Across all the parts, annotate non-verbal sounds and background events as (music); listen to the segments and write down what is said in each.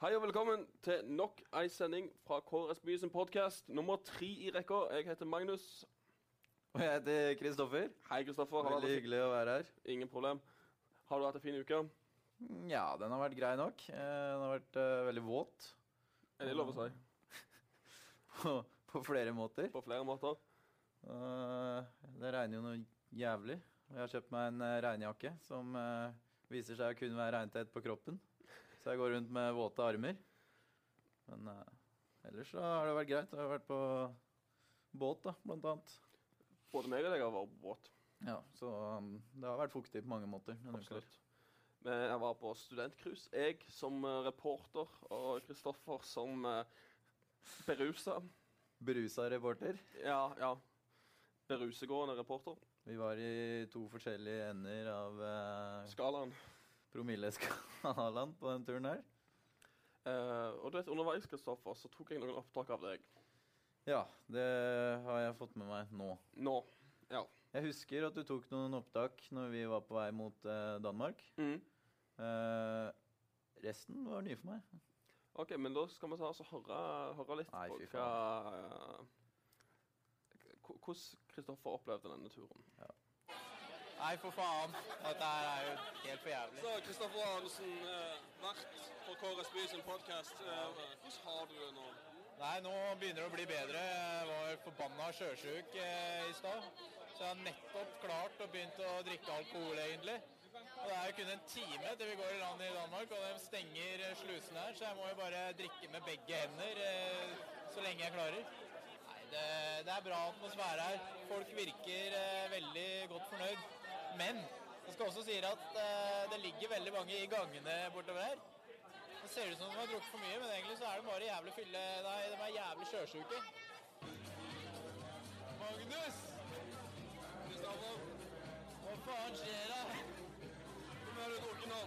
Hei og velkommen til nok ei sending fra KRS By sin podkast. Nummer tre i rekka. Jeg heter Magnus. Og jeg heter Kristoffer. Hei, Kristoffer. Har du Veldig hatt en hyggelig å være her. fin- Ingen problem. Har du hatt en fin uke? Ja, den har vært grei nok. Eh, Den har vært eh, veldig våt Er det lov å si? (laughs) på, på flere måter. På flere måter. Eh, det regner jo noe jævlig. Og jeg har kjøpt meg en eh, regnjakke som eh, viser seg å kunne være regntett på kroppen. Så jeg går rundt med våte armer. Men eh, ellers så har det vært greit. Jeg har vært på båt, da, blant annet. Både meg og deg har vært våt. Ja, så um, det har vært fuktig på mange måter. denne uka her. Absolutt. Men jeg var på studentcruise. Jeg som eh, reporter og Kristoffer som uh, berusa. Berusa reporter. Ja, ja. Berusegående reporter. Vi var i to forskjellige ender av eh, Skalaen. promilleskalaen på den turen her. Eh, og du vet, underveis Kristoffer, så tok jeg noen opptak av deg. Ja, det har jeg fått med meg nå. Nå. Ja. Jeg husker at du tok noen opptak når vi var på vei mot eh, Danmark. Mm. Eh, resten var nye for meg. OK, men da skal vi ta oss og høre, høre litt Nei, på fy hva eh, k- Hvordan Kristoffer opplevde denne turen. Nei, for faen. Dette her er jo helt for jævlig. Så Kristoffer Arnesen, vert for KRS By sin podkast. hvordan har du det nå? Nei, nå begynner det å bli bedre. Jeg var forbanna sjøsjuk eh, i stad. Så jeg har nettopp klart å begynt å drikke alkohol, egentlig. Og det er jo kun en time til vi går i land i Danmark, og de stenger eh, slusene her, så jeg må jo bare drikke med begge hender eh, så lenge jeg klarer. Nei, det, det er bra atmosfære her. Folk virker eh, veldig godt fornøyd. Men jeg skal også si at eh, det ligger veldig mange i gangene bortover her. Det ser ut som de har drukket for mye, men egentlig så er det bare jævlig fylle... Nei, de er jævlig sjøsjuke. Magnus! Hva faen skjer da? Hvem er du drukket nå?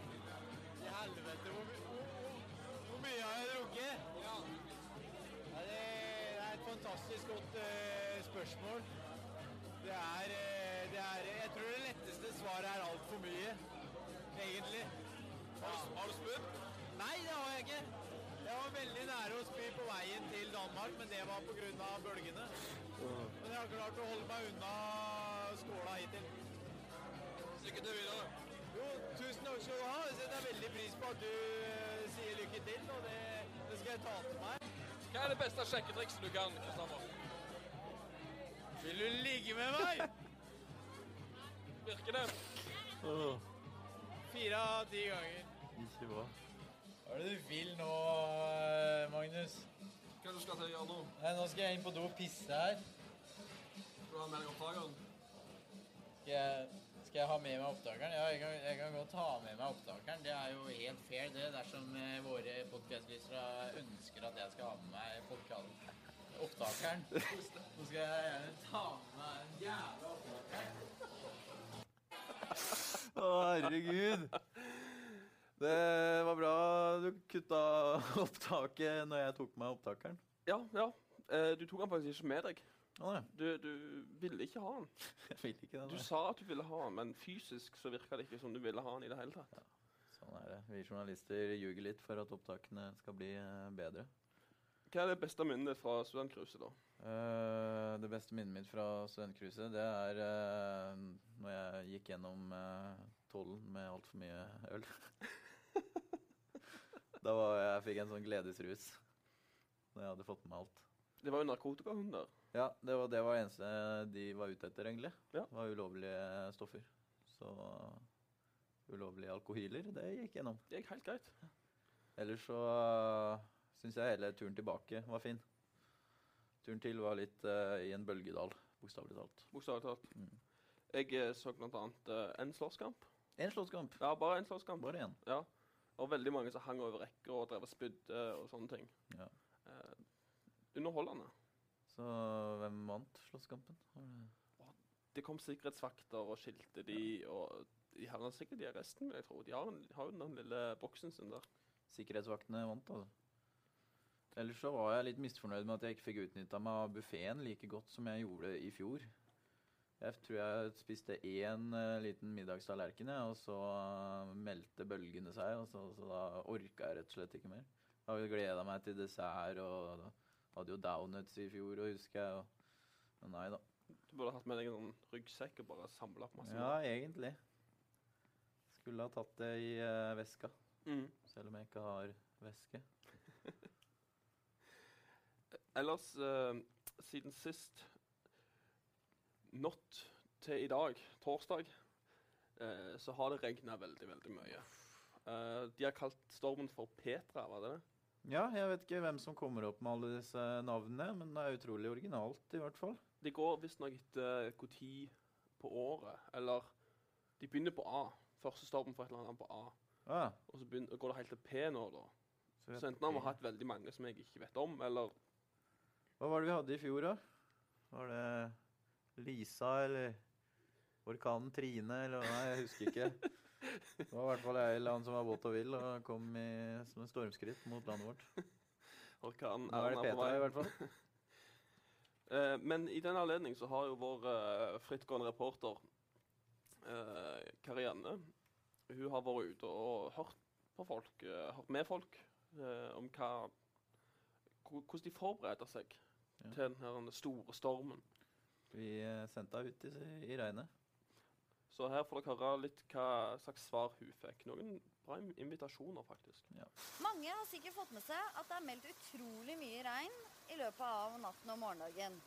I helvete, hvor, my- hvor- hvor mye har jeg drukket? Ja. det, det er et fantastisk godt eh, spørsmål. Det er, eh, det er Jeg tror det letteste svaret er altfor mye, egentlig. Har du spydd? Nei, det har jeg ikke. Jeg var veldig nære å spy på veien til Danmark, men det var pga. bølgene. Men jeg har klart å holde meg unna skåla hittil. Lykke til videre. Jo, tusen takk skal du ha. Jeg setter veldig pris på at du eh, sier lykke til, og det, det skal jeg ta til meg. Hva er det beste sjekketrikset du kan? Kristoffer? Vil du ligge med meg? Virker det? Fire av ti ganger. Ikke hva. Hva er det du vil nå, eh, Magnus? Hva er det du skal til å gjøre nå? nå skal jeg inn på do og pisse her. Skal du ha med deg opptakeren? Skal jeg, skal jeg ha med meg opptakeren? Ja, jeg kan, jeg kan godt ha med meg opptakeren. Det er jo helt fair, det, dersom eh, våre podkastlyttere ønsker at jeg skal ha med meg podkasten. Opptakeren. Så skal jeg gjerne ta med meg en jævla opptakeren. Å, herregud. Det var bra du kutta opptaket når jeg tok på meg opptakeren. Ja, ja. Eh, du tok den faktisk ikke med deg. Å, nei. Du, du ville ikke ha den. Jeg vil ikke det. Du nei. sa at du ville ha den, men fysisk så virka det ikke som du ville ha den i det hele tatt. Sånn er det. Vi journalister ljuger litt for at opptakene skal bli eh, bedre. Hva er det beste minnet ditt fra studentcruiset, da? Eh, det beste minnet mitt fra studentcruiset, det er uh, når jeg gikk gjennom eh, tollen med altfor mye øl. (laughs) da var jeg, jeg fikk jeg en sånn gledesrus når jeg hadde fått med meg alt. Det var jo narkotikahund der. Ja, det var det var det eneste de var ute etter, egentlig. Ja. Det var ulovlige stoffer. Så ulovlige alkohyler, det gikk gjennom. Det gikk helt greit. Ellers så uh, syns jeg hele turen tilbake var fin. Turen til var litt eh, i en bølgedal, bokstavelig talt. Bokstavelig talt. Mm. Jeg eh, så blant annet eh, en slåsskamp. Én slåsskamp. Ja, bare en slåsskamp. Bare én. Ja. Og veldig mange som hang over rekker og drev og spydde og sånne ting. Ja. Eh, underholdende. Så hvem vant slåsskampen? Var det- Det kom sikkerhetsvakter og skilte de, og de havna sikkert i arresten, vil jeg tro. De har, en, har jo den lille boksen sin der. Sikkerhetsvaktene vant, altså. Ellers så var jeg litt misfornøyd med at jeg ikke fikk utnytta meg av buffeen like godt som jeg gjorde i fjor. Jeg tror jeg spiste én eh, liten middagstallerken, jeg, og så eh, meldte bølgene seg. Og så, så da orka jeg rett og slett ikke mer. Har jo gleda meg til dessert og hadde jo donuts i fjor, og husker jeg. Og, men nei da. Du burde hatt med deg en sånn ryggsekk og bare samla opp masse Ja, egentlig. Skulle ha tatt det i eh, veska, mat. Mm. selv om jeg ikke har veske. Ellers, eh, siden sist Natt til i dag, torsdag, eh, så har det regna veldig, veldig mye. Eh, de har kalt stormen for Petra, var det det? Ja, jeg vet ikke hvem som kommer opp med alle disse navnene, men det er utrolig originalt, i hvert fall. Det går visstnok etter når på året, eller De begynner på A. Første storm for et eller annet på A. Ah, Og så begynner, går det helt til P nå, da. vi Så enten har vi hatt veldig mange som jeg ikke vet om, eller Hva var det vi hadde i fjor, da? Var det Lisa eller orkanen Trine eller Nei, jeg husker ikke. Det var i hvert fall ei eller annen som var våt og vill og kom i, som en stormskritt mot landet vårt. orkanen Nå Erna er det på Petra vei. i hvert fall. Eh, men i den anledning så har jo vår eh, frittgående reporter eh, Karianne Hun har vært ute og hørt på folk, eh, hørt med folk, eh, om hva hvor- Hvordan de forbereder seg Ja. til den her store stormen. Vi eh, sendte henne ut i, i regnet. Så her får dere høre litt hva slags svar hun fikk. Noen bra im- invitasjoner, faktisk. Mange har sikkert fått med seg at det er meldt utrolig mye regn i løpet av natten og morgendagen.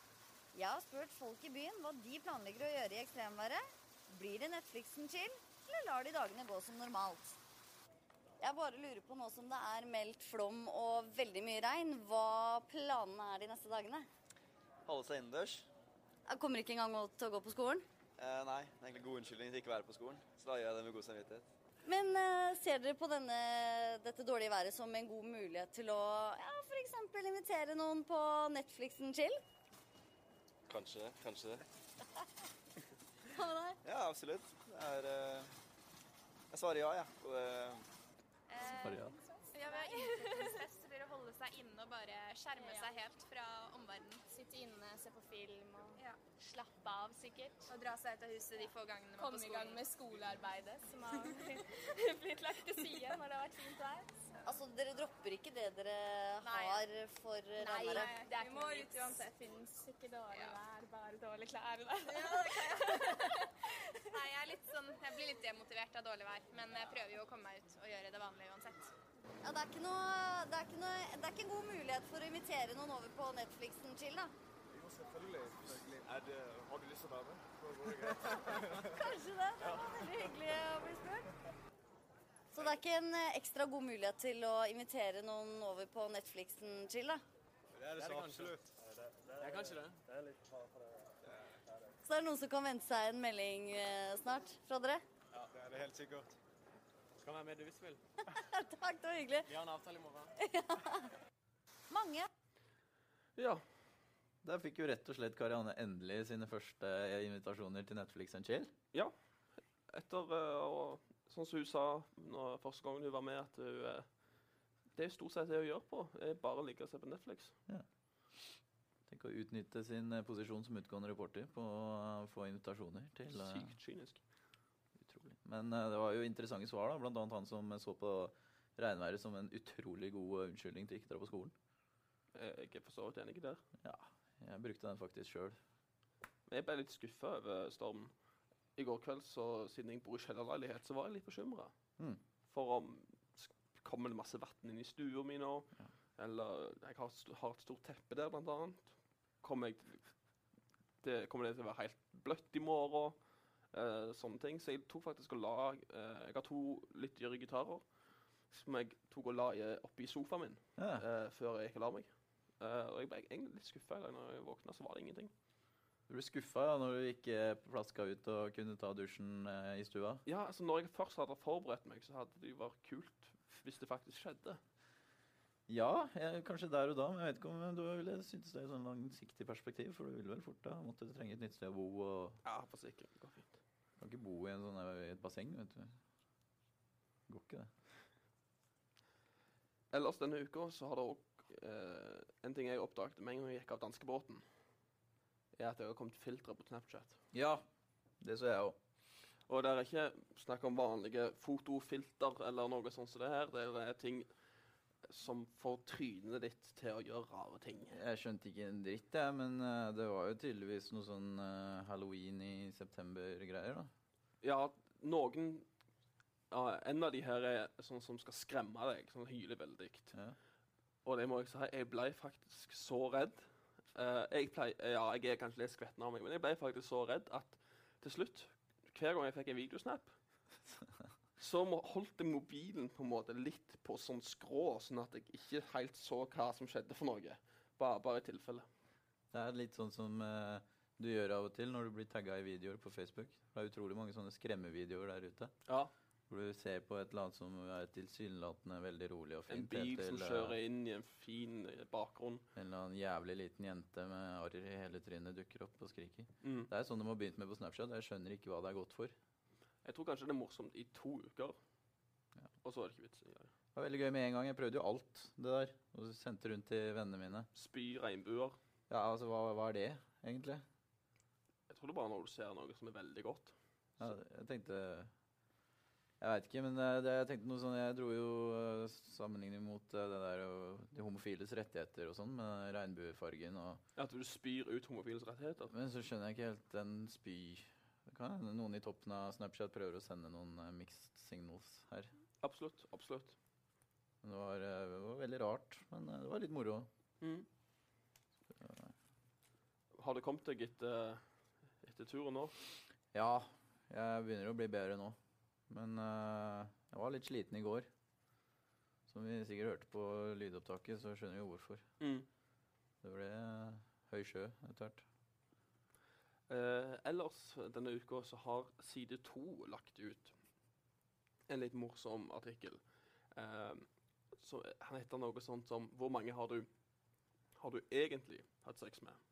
Jeg har spurt folk i byen hva de planlegger å gjøre i ekstremværet. Blir det Netflixen chill, eller lar de dagene gå som normalt? Jeg bare lurer på nå som det er meldt flom og veldig mye regn, hva planene er de neste dagene? Holde seg innendørs? Jeg kommer ikke engang til å gå på skolen. Eh, nei, det er egentlig god unnskyldning til ikke å være på skolen. Så da gjør jeg det med god samvittighet. Men eh, ser dere på denne, dette dårlige været som en god mulighet til å ja, f.eks. invitere noen på Netflixen chill? Kanskje, kanskje det. Hva med deg? Ja, absolutt. Det er eh, Jeg svarer ja, jeg. Ja. Og, Bare ja. Eh, Ja, ved innflyttingsfest så blir det å holde seg inne og bare skjerme seg helt fra omverdenen. Sitte inne, se på film og slappe av sikkert. Og dra seg ut av huset de få gangene man Komme i gang med skolearbeidet som (laughs) har blitt lagt til side når det har vært fint vær. Altså, dere dropper ikke det dere Nei. har for eh, regnværet? det er vi må ut uansett. Det fins ikke dårlig vær, bare dårlige klær der. Nei, jeg, er litt sånn, jeg blir litt demotivert av dårlig vær, men jeg prøver jo å komme meg ut og gjøre det vanlige uansett. Ja, det er ikke noe, det er ikke noe, det er ikke en god mulighet for å invitere noen over på Netflixen chill, da. Kanskje det. Det var veldig hyggelig å bli spurt. Så det er ikke en eh, ekstra god mulighet til å invitere noen over på Netflixen chill, da. Så det er noen som kan vente seg en melding eh, snart fra dere? Ja, det er det helt sikkert. Du kan være med du hvis du vil. Takk, det var hyggelig. Vi har en (laughs) avtale i morgen. Mange Ja. Der fikk jo rett og slett Karianne endelig sine første invitasjoner til Netflix and chill. Etter eh, å Sånn som hun sa når, første gangen hun var med, at hun eh, Det er jo stort sett det hun gjør på. er Bare ligge og se på Netflix. Tenk å utnytte sin eh, posisjon som utgående reporter på å eh, få invitasjoner til eh, Sykt kynisk. Utrolig. Men eh, det var jo interessante svar, da. Blant annet han som eh, så på regnværet som en utrolig god eh, unnskyldning til ikke å dra på skolen. Jeg er for så vidt enig der. Jeg brukte den faktisk sjøl. Men Jeg ble litt skuffa over stormen. I går kveld, så, siden jeg bor i kjellerleilighet, så var jeg litt bekymra. Mm. For om sk- kommer det masse vann inn i stua mi nå? Ja. Eller jeg har, et st- har et stort teppe der, blant annet. Kommer, jeg, til- det, kommer det til å være helt bløtt i morgen? Eh, sånne ting. Så jeg tok faktisk og la eh, Jeg har to litt dyre gitarer som jeg tok og la i- oppi sofaen min Ja. eh, før jeg gikk og la meg. Eh, og jeg ble egentlig litt skuffa i dag når jeg våkna, så var det ingenting. Du ble skuffa ja, når du ikke plaska ut og kunne ta dusjen eh, i stua. Ja, altså når jeg først hadde forberedt meg, så hadde det jo vært kult hvis det faktisk skjedde. Ja, jeg, kanskje der og da, men jeg vet ikke om du ville synes det i sånn langsiktig perspektiv. For du ville vel fort da måtte trenge et nytt sted å bo. og Ja, for sikkert. Det går fint. Kan ikke bo i, en sånn, eh, i et basseng, vet du. Går ikke det. Ellers denne uka så har det òg eh, En ting jeg oppdaget med en gang jeg gikk av danskebåten, er at jeg har kommet filtre på Snapchat. Ja, det så jeg òg. Og det er ikke snakk om vanlige fotofilter eller noe sånt som det her. Det er ting som får trynet ditt til å gjøre rare ting. Jeg skjønte ikke en dritt, jeg, men eh, det var jo tydeligvis noe sånn eh, halloween i september-greier, da. Ja, noen ja, En av de her er sånn som skal skremme deg. Sånn hyler veldig. Ja. Og det må jeg si, jeg ble faktisk så redd. Eh, jeg plei, ja, jeg er kanskje litt skvetten av meg, men jeg ble faktisk så redd at til slutt, hver gang jeg fikk en (laughs) videosnap, så må, holdt jeg mobilen på en måte litt på sånn skrå, sånn at jeg ikke helt så hva som skjedde for noe. Bare, bare i tilfelle. Det er litt sånn som eh, du gjør av og til når du blir tagga i videoer på Facebook. Det er utrolig mange sånne skremmevideoer der ute. Ja, Hvor du ser på et eller annet som er tilsynelatende veldig rolig og En fint. bil som eh, kjører inn i en fin eh, bakgrunn. en eller annen jævlig liten jente med arr i hele trynet dukker opp og skriker. Mm. Det er sånn de har begynt med på Snapchat. Jeg skjønner ikke hva det er godt for. Jeg tror kanskje det er morsomt i to uker, Ja. og så er det ikke vits engang. Det var veldig gøy med en gang. Jeg prøvde jo alt det der. Og sendte rundt til vennene mine. Spy regnbuer. Ja, altså, hva, hva er det, egentlig? Jeg tror det er bare når du ser noe som er veldig godt. Ja, jeg tenkte Jeg veit ikke, men eh, det, jeg tenkte noe sånn Jeg dro jo eh, sammenligning mot eh, det der og de homofiles rettigheter og sånn, med regnbuefargen og At du spyr ut homofiles rettigheter? Men så skjønner jeg ikke helt den spy... Det kan hende noen i toppen av Snapchat prøver å sende noen eh, mixed signals her. Absolutt. Absolutt. Men det var, eh, det var veldig rart, men eh, det var litt moro. Har det kommet deg etter, etter turen nå? Ja, jeg begynner å bli bedre nå. Men eh, jeg var litt sliten i går. Som vi sikkert hørte på lydopptaket, så skjønner vi hvorfor. Det ble eh, høy sjø etter hvert. Eh, ellers denne uka så har Side 2 lagt ut en litt morsom artikkel. Eh, så han heter noe sånt som 'Hvor mange har du, har du egentlig hatt sex med?'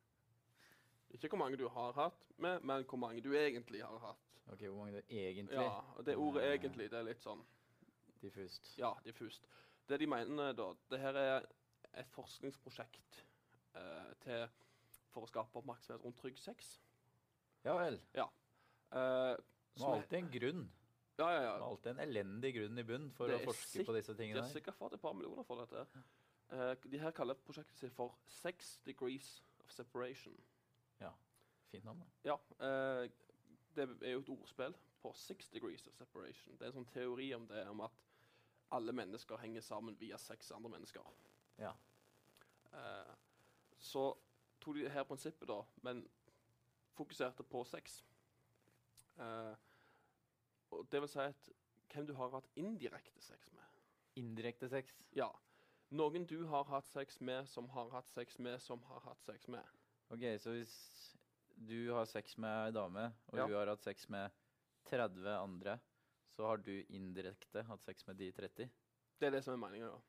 Ikke hvor mange du har hatt med, men hvor mange du egentlig har hatt. Ok, Hvor mange det er egentlig? Ja, og Det ordet Eh. 'egentlig' det er litt sånn Diffust. Ja, diffust. Det de mener eh, da, det her er et forskningsprosjekt eh, til, for å skape oppmerksomhet rundt trygg sex. Ja vel. Eh, Det var alltid en grunn. ja, ja, Det ja. var alltid en elendig grunn i bunnen for Det å er forske på disse De tingene har her. sikkert fått et par millioner for dette. her. Eh, de her kaller prosjektet sitt for Sex Degrees of Separation. Fint navn, da. Ja, eh, det er jo et ordspill på Six Degrees of Separation. Det er en sånn teori om det, om at alle mennesker henger sammen via seks andre mennesker. Ja. Eh, så tok de det her prinsippet, da, men fokuserte på sex. Eh, og det vil si at hvem du har hatt indirekte sex med. Indirekte sex. Ja. Noen du har hatt sex med, som har hatt sex med, som har hatt sex med. Ok, Så hvis du har sex med ei dame, og Ja. hun har hatt sex med 30 andre, så har du indirekte hatt sex med de 30? Det er det som er meninga, da.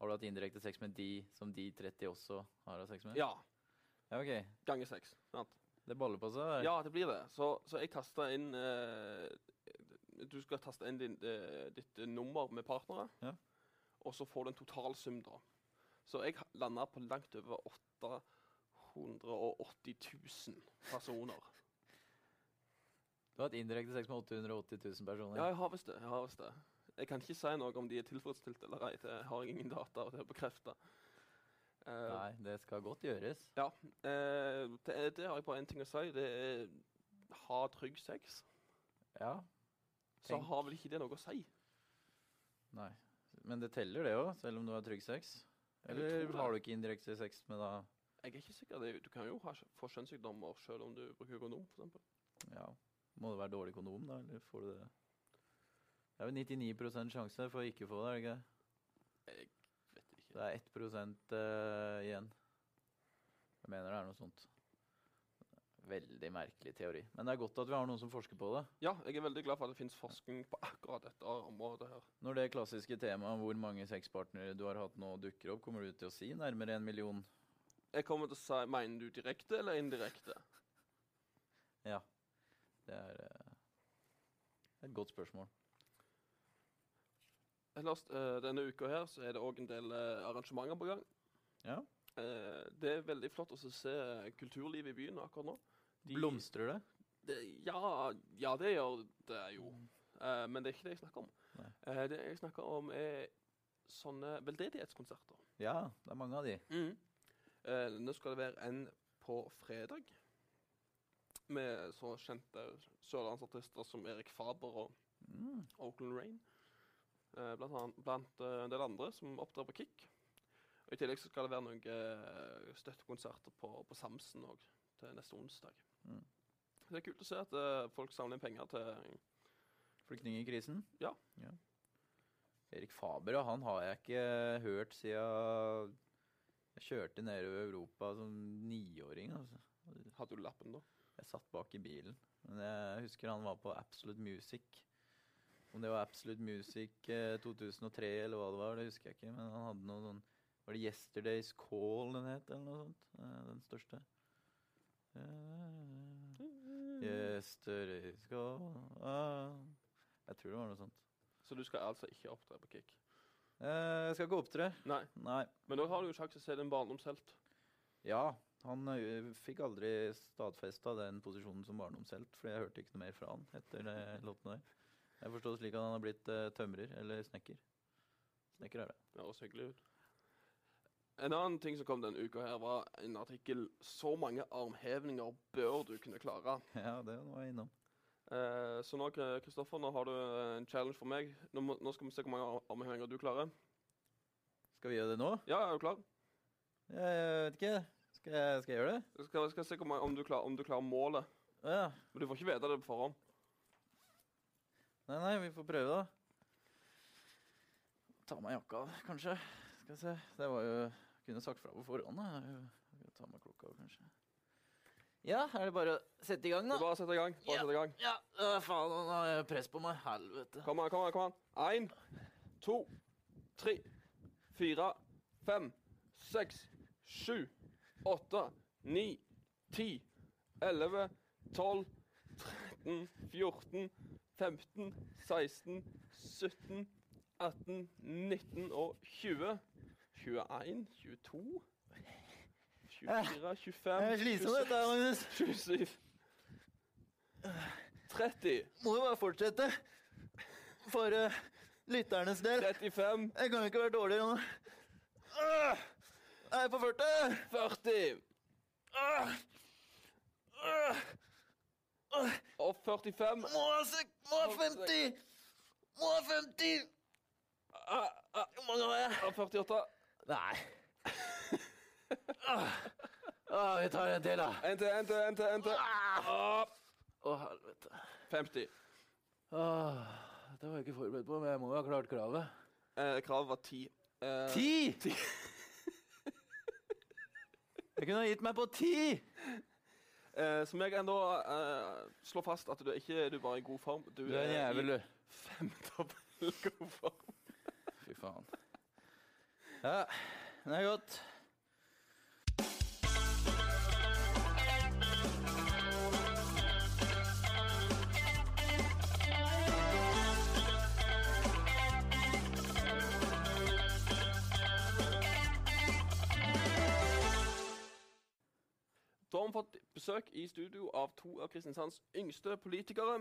Har du hatt indirekte sex med de som de 30 også har hatt sex med? Ja. Ja, ok. Ganger seks. Sant? Det baller på seg. der. Ja, det blir det. Så, så jeg tasta inn eh, Du skal taste inn din, eh, ditt nummer med partnere, Ja. og så får du en totalsum, da. Så jeg landa på langt over 880 000 (laughs) personer. Du har hatt indirekte sex med 880 000 personer. Ja, jeg har visst det. Jeg har visst det. Jeg kan ikke si noe om de er tilfredsstilt eller ei. Det har jeg ingen data til å bekrefte. Eh, Nei, det skal godt gjøres. eh, det, er- det har jeg bare én ting å si. Det er ha trygg sex. Ja. Så Tenk. har vel ikke det noe å si. Nei. Men det teller, det òg, selv om du har trygg sex. Jeg vil Eller tro det. har du ikke indirekte sex med da Jeg er ikke sikker. Det, er jo- du kan jo ha, skj- få kjønnssykdommer selv om du bruker kondom. For eksempel. Ja. Må det være dårlig kondom, da? Eller får du det Det er jo 99 sjanse for å ikke få det, er det ikke det? Vet ikke. Det er 1 eh, igjen. Jeg mener det er noe sånt. Veldig merkelig teori. Men det er godt at vi har noen som forsker på det. Ja, jeg er veldig glad for at det finnes forskning på akkurat dette området her. Når det klassiske temaet hvor mange sexpartnere du har hatt nå dukker opp, kommer du til å si nærmere en million? Jeg kommer til å si, Mener du direkte eller indirekte? Det er eh, et godt spørsmål. Ellers, eh, denne uka her så er det òg en del eh, arrangementer på gang. Ja. Eh, det er veldig flott å se kulturlivet i byen akkurat nå. De- Blomstrer det? Det, ja, ja, det gjør det jo. Eh, men det er ikke det jeg snakker om. Nei. Eh, det jeg snakker om, er sånne veldedighetskonserter. Ja, det er mange av de. Eh, nå skal det være en på fredag med så kjente sørlandsartister som Erik Faber og Mm. Oakland Rain. Eh, blant annet, blant eh, en del andre som opptrer på Kick. Og I tillegg så skal det være noen eh, støttekonserter på, på Samsen òg til neste onsdag. Mm. Så Det er kult å se at eh, folk samler inn penger til Flyktningkrisen? Ja. Erik Faber, ja, han har jeg ikke hørt siden jeg kjørte nedover Europa som niåring. Altså. Hadde du lappen, da? Jeg satt bak i bilen. Men jeg husker han var på Absolute Music. Om det var Absolute Music eh, 2003 eller hva det var, det husker jeg ikke. Men han hadde noe sånn Var det Yesterday's Call den het, eller noe sånt? Eh, Den største. Eh, Yesterday's Call ah. Jeg tror det var noe sånt. Så du skal altså ikke opptre på Kick? Eh, Jeg skal ikke opptre. Nei. Nei. Men da har du jo sjanse til å se din barndomshelt. Ja, han ø, fikk aldri stadfesta den posisjonen som barndomshelt, for jeg hørte ikke noe mer fra han etter det låten der. Jeg forstår det slik at han har blitt ø, tømrer eller snekker. Snekker er det. (laughs) Det høres hyggelig ut. En annen ting som kom denne uka, her var en artikkel 'Så mange armhevninger bør du kunne klare'. Ja, det var jeg innom. Eh, så nå, Kri- Kristoffer, nå har du eh, en challenge for meg. Nå, må, nå skal vi se hvor mange ar- armhevinger du klarer. Skal vi gjøre det nå? Ja, er du klar? Jeg, jeg vet ikke. Skal jeg, skal jeg gjøre det? Jeg skal, jeg skal se hvor mange, om, du klarer, om du klarer målet. Å ja. Men du får ikke vite det på forhånd. Nei, nei, vi får prøve, da. Ta meg jakka, kanskje. Skal vi se. Det var jo Kunne sagt fra på forhånd. da. Jeg kan Ta meg klokka, kanskje. Ja, er det bare å sette i gang, Det da? er bare å sette i gang. Bare Ja. sette i gang. Ja, øh, faen, han har press på meg. Helvete. Kom an, kom an. kom an. Én, to, tre, fire, fem, seks, sju, åtte, ni, ti, elleve, tolv, 13, 14, 15, 16, 17, 18, 19 og 20. 21, 22 24, 25, slitsomt, dette her, Magnus. 27 30, Må jo bare fortsette. For øh, lytternes del. 35 Jeg kan jo ikke være dårligere nå. Øh, Jeg er på 40. 40 Øh, øh, og 45 Må ha sek- må ha 50! Må ha 50! ah, ah, Hvor mange har jeg? og 48. Nei. Ah, vi tar en til, da. En til, en til, en til. en til. Ah, Å, helvete. 50. Ah, det var jeg ikke forberedt på, men jeg må jo ha klart kravet. Eh, kravet var 10. Eh, Ti! Jeg kunne ha gitt meg på ti! Eh, som jeg ennå eh, slår fast at du er ikke du er bare i god form. Du, Du er en i jævel, du. (laughs) femdobbel god form. Fy faen. Ja, det er godt. Da har vi fått besøk i studio av to av Kristiansands yngste politikere.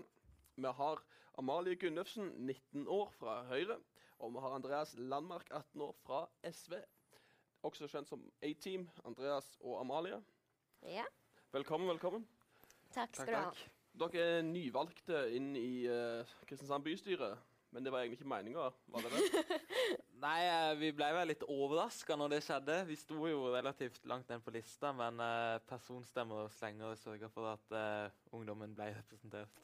Vi har Amalie Gunnøfsen, 19 år, fra Høyre. Og vi har Andreas Landmark, 18 år, fra SV. Også kjent som A-Team, Andreas og Amalie. Ja, Velkommen, velkommen. takk skal du ha. Dere er nyvalgte inn i eh, Kristiansand bystyre, men det var egentlig ikke meninga, var det (laughs) det? Nei, eh, vi ble vel litt overraska når det skjedde. Vi sto jo relativt langt ned på lista, men eh, personstemmer og slenger sørga for at eh, ungdommen ble representert.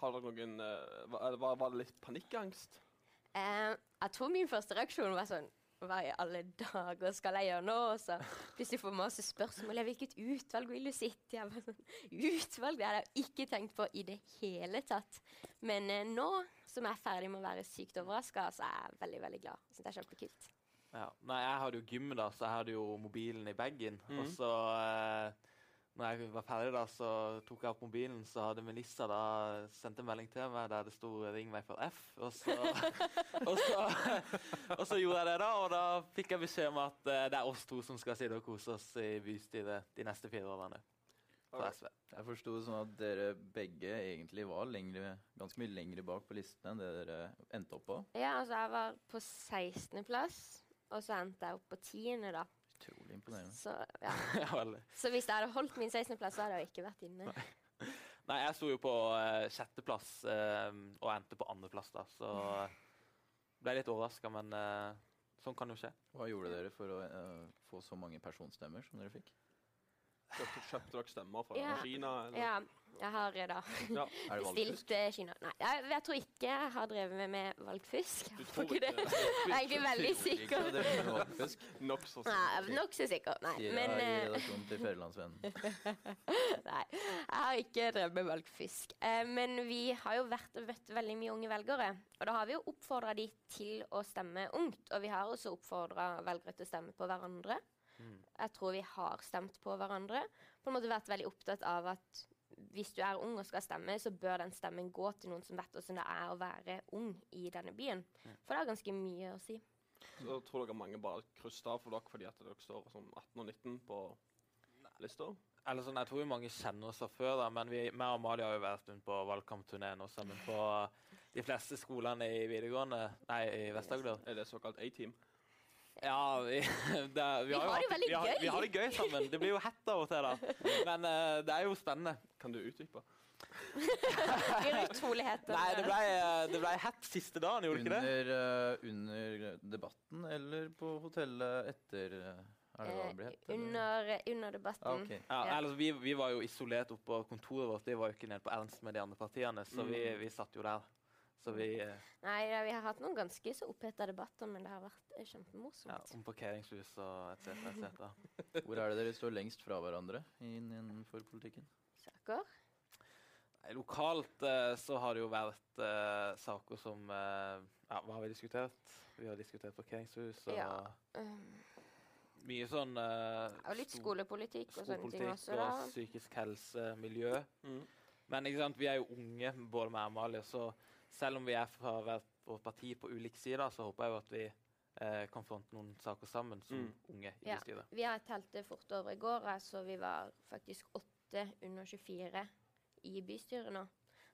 Har dere noen eh, var, var- var det litt panikkangst? Eh, jeg tror min første reaksjon var sånn Hva i alle dager skal jeg gjøre nå? Og så plutselig får jeg masse spørsmål. Jeg hvilket utvalg vil du sitte i? Jeg bare sånn, Utvalg? Det hadde jeg jo ikke tenkt på i det hele tatt. Men eh, nå som jeg er ferdig med å være sykt overraska, så er jeg veldig, veldig glad. Jeg synes det er kjempekult. Ja. Nei, jeg hadde jo gym, da, så jeg hadde jo mobilen i bagen. Og så, eh, når jeg var ferdig, da, så tok jeg opp mobilen, så hadde Melissa da sendt en melding til meg der det sto 'ring meg for F'. Og så, og så, og så gjorde jeg det, da, og da fikk jeg beskjed om at eh, det er oss to som skal sitte og kose oss i bystyret de neste fire årene. fra SV. (laughs) Jeg forsto det sånn at dere begge egentlig var lengre, ganske mye lengre bak på listene enn det dere endte opp på. Ja, altså jeg var på 16.-plass, og så endte jeg opp på 10., da. Utrolig imponerende. Så, ja. ja, veldig. så hvis jeg hadde holdt min 16.-plass, så hadde jeg jo ikke vært inne. Nei, jeg sto jo på eh, sjetteplass eh, og endte på andreplass, da, så ble litt overraska, men eh, sånn kan jo skje. Hva gjorde dere for å eh, få så mange personstemmer som dere fikk? Kjøpte, kjøpte dere stemmer fra Ja. Kina? Eller? Ja, jeg har eh, da Er det valgfusk? bestilt eh, Kina. Nei, jeg, jeg tror ikke jeg har drevet med valgfusk. Du (laughs) Jeg tror tror ikke det. ikke- Jeg er egentlig veldig sikker. Det er valgfusk. Nokså Nei, jeg er nokså sikker. Nei, Sier men jeg i eh, redaksjonen til (laughs) Fædrelandsvennen. Nei, jeg har ikke drevet med valgfisk. Eh, men vi har jo vært og møtt veldig mye unge velgere. Og da har vi jo oppfordra de til å stemme ungt. Og vi har også oppfordra velgere til å stemme på hverandre. Mm. Jeg tror vi har stemt på hverandre. På en måte vært veldig opptatt av at hvis du er ung og skal stemme, så bør den stemmen gå til noen som vet hvordan det er å være ung i denne byen. For det har ganske mye å si. Så tror dere mange bare krysset av for dere fordi at dere står som 18 og 19 på lista. Eller sånn, Jeg tror jo mange kjenner oss fra før, da, men vi meg og Amalie har jo vært rundt på valgkampturné nå sammen på de fleste skolene i videregående, nei, i Vest-Agder. Er det såkalt A-team? Ja, vi, (laughs) det, vi, jo har det hatt- veldig vi har, gøy. Vi har det gøy sammen. Det blir jo hett av og til, da. Men eh, det er jo spennende. Kan du utdype? Det blir utroligheter. Nei, det ble, eh, det ble hett siste dagen, gjorde det ikke det? Under, eh, under debatten eller på hotellet etter eh, Er det hva det blir hett? Eh, eller? under, under debatten. Ah, ok. Ja, Ja. altså, vi, vi var jo isolert oppe på kontoret vårt. Vi var jo ikke nede på Ernst med de andre partiene, så vi, Mm. vi satt jo der. Så vi eh, Nei, ja, vi har hatt noen ganske så oppheta debatter, men det har vært eh, kjempemorsomt. ja, Om parkeringshus og etc. Et cetera. Hvor er det dere står lengst fra hverandre inn- innenfor politikken? Saker. Nei, Lokalt eh, så har det jo vært eh, saker som eh, Ja, hva har vi diskutert? Vi har diskutert parkeringshus og Ja. Um, mye sånn eh, og litt stor- skolepolitikk og sånne ting skolepolitikk også, da. og psykisk helse, miljø. Mm. Men ikke sant, vi er jo unge, både med Amalie, så selv om vi er fra hvert vårt parti på ulike sider, så håper jeg jo at vi eh, kan fronte noen saker sammen som Mm. unge i Ja. bystyret. Vi har telt det fort over i går, eh, så vi var faktisk åtte under 24 i bystyret nå.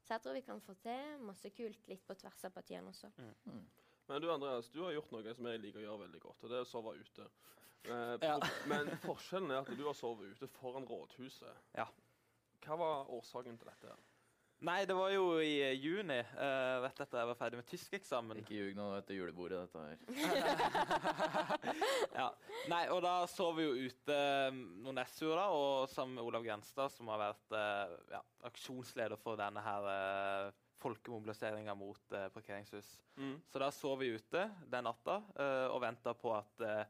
Så jeg tror vi kan få til masse kult litt på tvers av partiene også. Men du Andreas, du har gjort noe som jeg liker å gjøre veldig godt, og det er å sove ute. Eh, Ja. pro- Men forskjellen er at du har sovet ute foran rådhuset. Ja. Hva var årsaken til dette? Nei, det var jo i eh, juni, eh, rett etter jeg var ferdig med tyskeksamen. Ikke ljug nå etter julebordet, dette her. (laughs) ja. Nei, og da sov vi jo ute mm, noen S-uer da, og sammen med Olav Grenstad, som har vært eh, ja, aksjonsleder for denne her eh, folkemobiliseringa mot eh, parkeringshus. Så da sov vi ute den natta eh, og venta på at eh,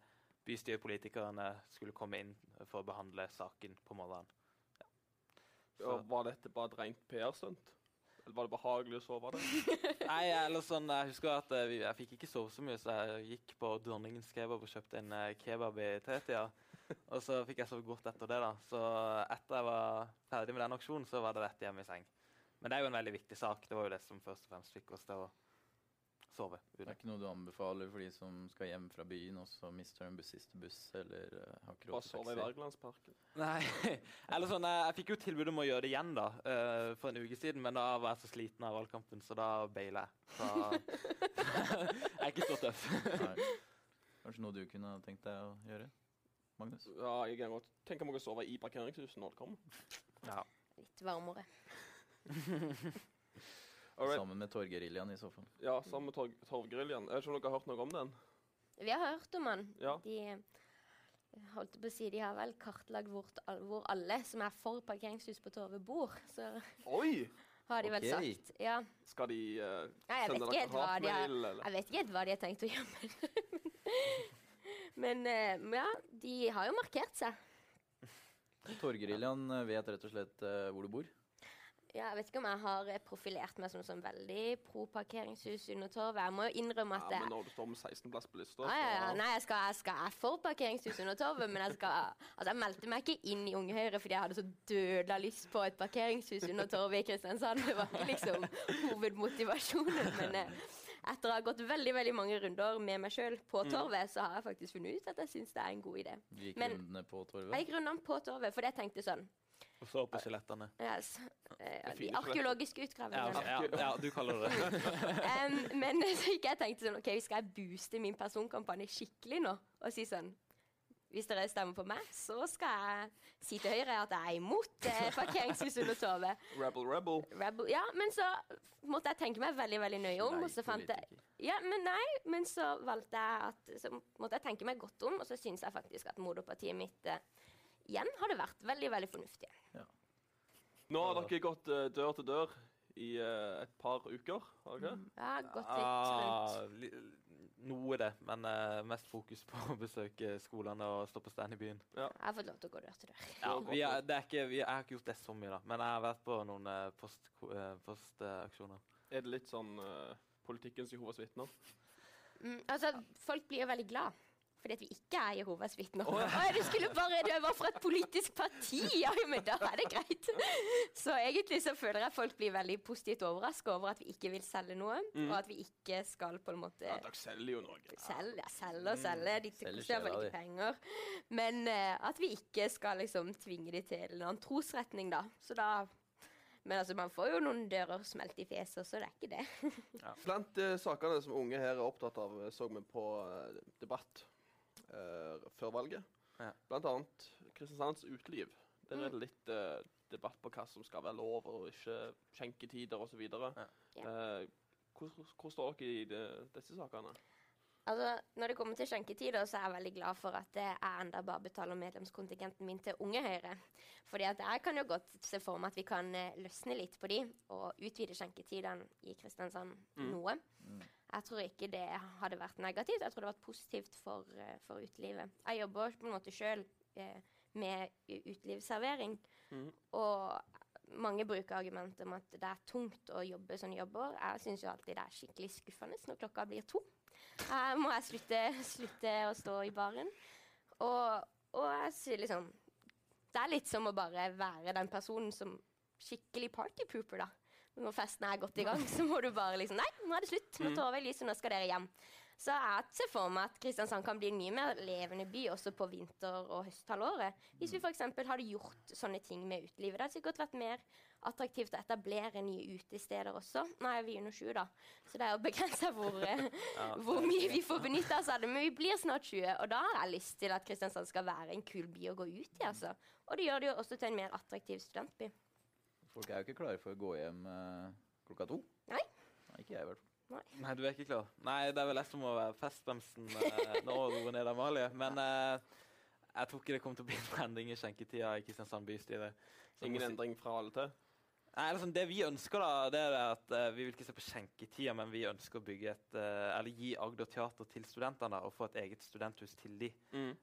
bystyrepolitikerne skulle komme inn for å behandle saken på morgenen. Ja. Så, Og var dette bare et rent PR-stunt? Eller var det behagelig å sove der? (laughs) nei, eller sånn, Jeg husker at eh, vi- jeg fikk ikke sove så mye, så jeg gikk på Dronningens kebab og kjøpte en eh, kebab i tretida. Og så fikk jeg sove godt etter det. da. Så etter jeg var ferdig med den aksjonen, så var det rett hjem i seng. Men det er jo en veldig viktig sak. Det var jo det som først og fremst fikk oss til å sove. Det er ute. ikke noe du anbefaler for de som skal hjem fra byen og så mister en buss siste buss, eller eh, har ikke Bare råd til sove i taxi? Wergelandsparken? Nei. (laughs) Eller sånn, jeg, jeg fikk jo tilbud om å gjøre det igjen da, eh, for en uke siden, men da var jeg så sliten av valgkampen, så da baila jeg. Så (laughs) jeg er ikke så tøff. Nei. Kanskje noe du kunne ha tenkt deg å gjøre, Magnus? Ja, jeg kan godt tenke meg å sove i parkeringshuset når det kommer. Ja. Litt varmere. Alright. Sammen med Torgeriljan i så fall. Ja, sammen med Torv Torvgrilljen. Jeg vet ikke om dere har hørt noe om den? Vi har hørt om han. Ja. De eh, holdt på å si, de har vel kartlagt hvor, al- hvor alle som er for parkeringshus på Torve, bor. Så Oi! har de Ok. vel sagt. Ja. Skal de eh, Nei, jeg vet sende dere ikke helt hva de har hatmail, eller? Jeg vet ikke helt hva de har tenkt å gjøre med det. (laughs) Men eh, men ja, de har jo markert seg. Torgeriljan eh, vet rett og slett eh, hvor du bor. Ja, jeg vet ikke om jeg har eh, profilert meg som sånn veldig pro parkeringshus under torvet. Jeg må jo innrømme at Ja, men det, når du står med 16-plass på lista, ja, ja, ja. Nei, jeg skal, jeg skal jeg er for parkeringshus under torvet, men jeg skal Altså, jeg meldte meg ikke inn i Unge Høyre fordi jeg hadde så dødla lyst på et parkeringshus under torvet i Kristiansand. Det var ikke liksom hovedmotivasjonen, men eh, etter å ha gått veldig veldig mange runder med meg sjøl på Mm. torvet, så har jeg faktisk funnet ut at jeg syns det er en god idé. Du gikk Men- rundene på Jeg Torvet. gikk rundt om på Torvet, fordi jeg tenkte sånn (laughs) Og så på skjelettene. Yes. Eh, ja, de fine arkeologiske Ja, utgravningene. ok, ja, ja, du kaller det det. (laughs) Em, men (laughs) så gikk jeg og tenkte sånn, ok, skal jeg booste min personkampanje skikkelig nå? Og si sånn, hvis dere stemmer på meg, så skal jeg si til høyre at jeg er imot eh, (laughs) parkeringshus under torvet. Rebel, rebel. Rebel. Ja, men så måtte jeg tenke meg veldig, veldig nøye om, og så fant (laughs) jeg... Ja, men nei, men så valgte jeg at, så måtte jeg tenke meg godt om, og så synes jeg faktisk at moderpartiet mitt eh, igjen hadde vært veldig, veldig fornuftig. Nå har dere gått eh, dør til dør i eh, et par uker, har dere Mm. ikke? Ja, gått litt rundt. Ah, li- noe det, men eh, mest fokus på å besøke skolene og stå på stand i byen. Jeg har fått lov til å gå dør til dør. Ja, vi er, det er ikke, vi, jeg har ikke gjort det så mye, da. Men jeg har vært på noen eh, post, ko- eh, postaksjoner. Er det litt sånn eh, politikkens Jehovas vitner? Mm, altså, folk blir jo veldig glad. Fordi at vi ikke er Jehovas vitner. Å, du skulle bare Du var fra et politisk parti! Ja, jo, men da er det greit. Så egentlig så føler jeg folk blir veldig positivt overraska over at vi ikke vil selge noe. Og at vi ikke skal på en måte Ja, dere selger jo noe. Selge, ja, selge og selge. Selge De koster iallfall sjela ikke penger. Men eh, at vi ikke skal liksom tvinge de til en annen trosretning, da. Så da Men altså, man får jo noen dører smelt i fjeset, så det er ikke det. Blant eh, sakene som unge her er opptatt av, eh, så vi på eh, debatt eh, før valget. Ja. Mm. Blant annet Kristiansands uteliv. Der er det litt eh, debatt på hva som skal være lov og ikke skjenketider osv. Ja. Ja. Eh, hvor, hvor står dere i de, disse sakene? Altså, Når det kommer til skjenketider, så er jeg veldig glad for at eh, jeg enda bare betaler medlemskontingenten min til Unge Høyre. Fordi at jeg kan jo godt se for meg at vi kan eh, løsne litt på de, og utvide skjenketidene i Kristiansand noe. Jeg tror ikke det hadde vært negativt. Jeg tror det hadde vært positivt for, eh, for utelivet. Jeg jobber på en måte sjøl med u- utelivsservering, Mm. Mhm. og mange bruker argumentet om at det er tungt å jobbe sånne jobber. Jeg syns jo alltid det er skikkelig skuffende når klokka blir to. Her må jeg slutte, slutte å stå i baren. Og, og jeg sier liksom Det er litt som å bare være den personen som skikkelig partypooper, da. Når festen er godt i gang, så må du bare liksom Nei, nå er det slutt. Nå tar vi lyset, nå skal dere hjem. Så jeg ser for meg at Kristiansand kan bli en mye mer levende by også på vinter- og høsthalvåret. Hvis vi f.eks. hadde gjort sånne ting med utelivet. Det hadde sikkert vært mer attraktivt å etablere nye utesteder også. Nå er vi under sju, da, så det er jo begrensa (laughs) hvor, eh, hvor mye vi får benytte oss av det, men vi blir snart 20. Og da har jeg lyst til at Kristiansand skal være en kul by å gå ut i. altså. Og det gjør det jo også til en mer attraktiv studentby. Folk er jo ikke klare for å gå hjem eh, klokka to. Nei. Nei, ikke jeg i hvert fall. Nei, du er ikke klar? Nei, det er vel jeg som må være festbremsen eh, nå og roe ned Amalie. Men eh, jeg tror ikke det kommer til å bli en endring i skjenketida i Kristiansand bystyre. Så Ingen må si- endring fra alle til? Nei, eller sånn, det vi ønsker, da, det er at eh, vi vil ikke se på skjenketida, men vi ønsker å bygge et, eh, eller gi Agder teater til studentene og få et eget studenthus til de.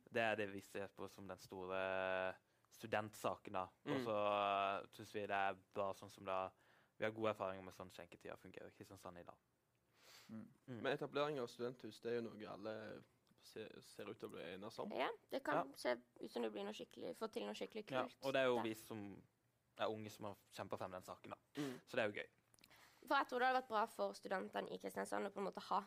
Det er det vi ser på som den store eh, studentsaken. da. Og Mm. så syns vi det er bra sånn som da Vi har gode erfaringer med sånn skjenketida fungerer i Kristiansand i dag. Men etablering av studenthus det er jo noe alle se, ser ut til å bli enes om. Ja, Det kan Ja. se ut som det blir noe skikkelig, få til noe skikkelig Ja, kult. og det er jo der. vi som er unge som har kjempa frem den saken. da. Mm. Så det er jo gøy. For jeg tror det hadde vært bra for studentene i Kristiansand å på en måte ha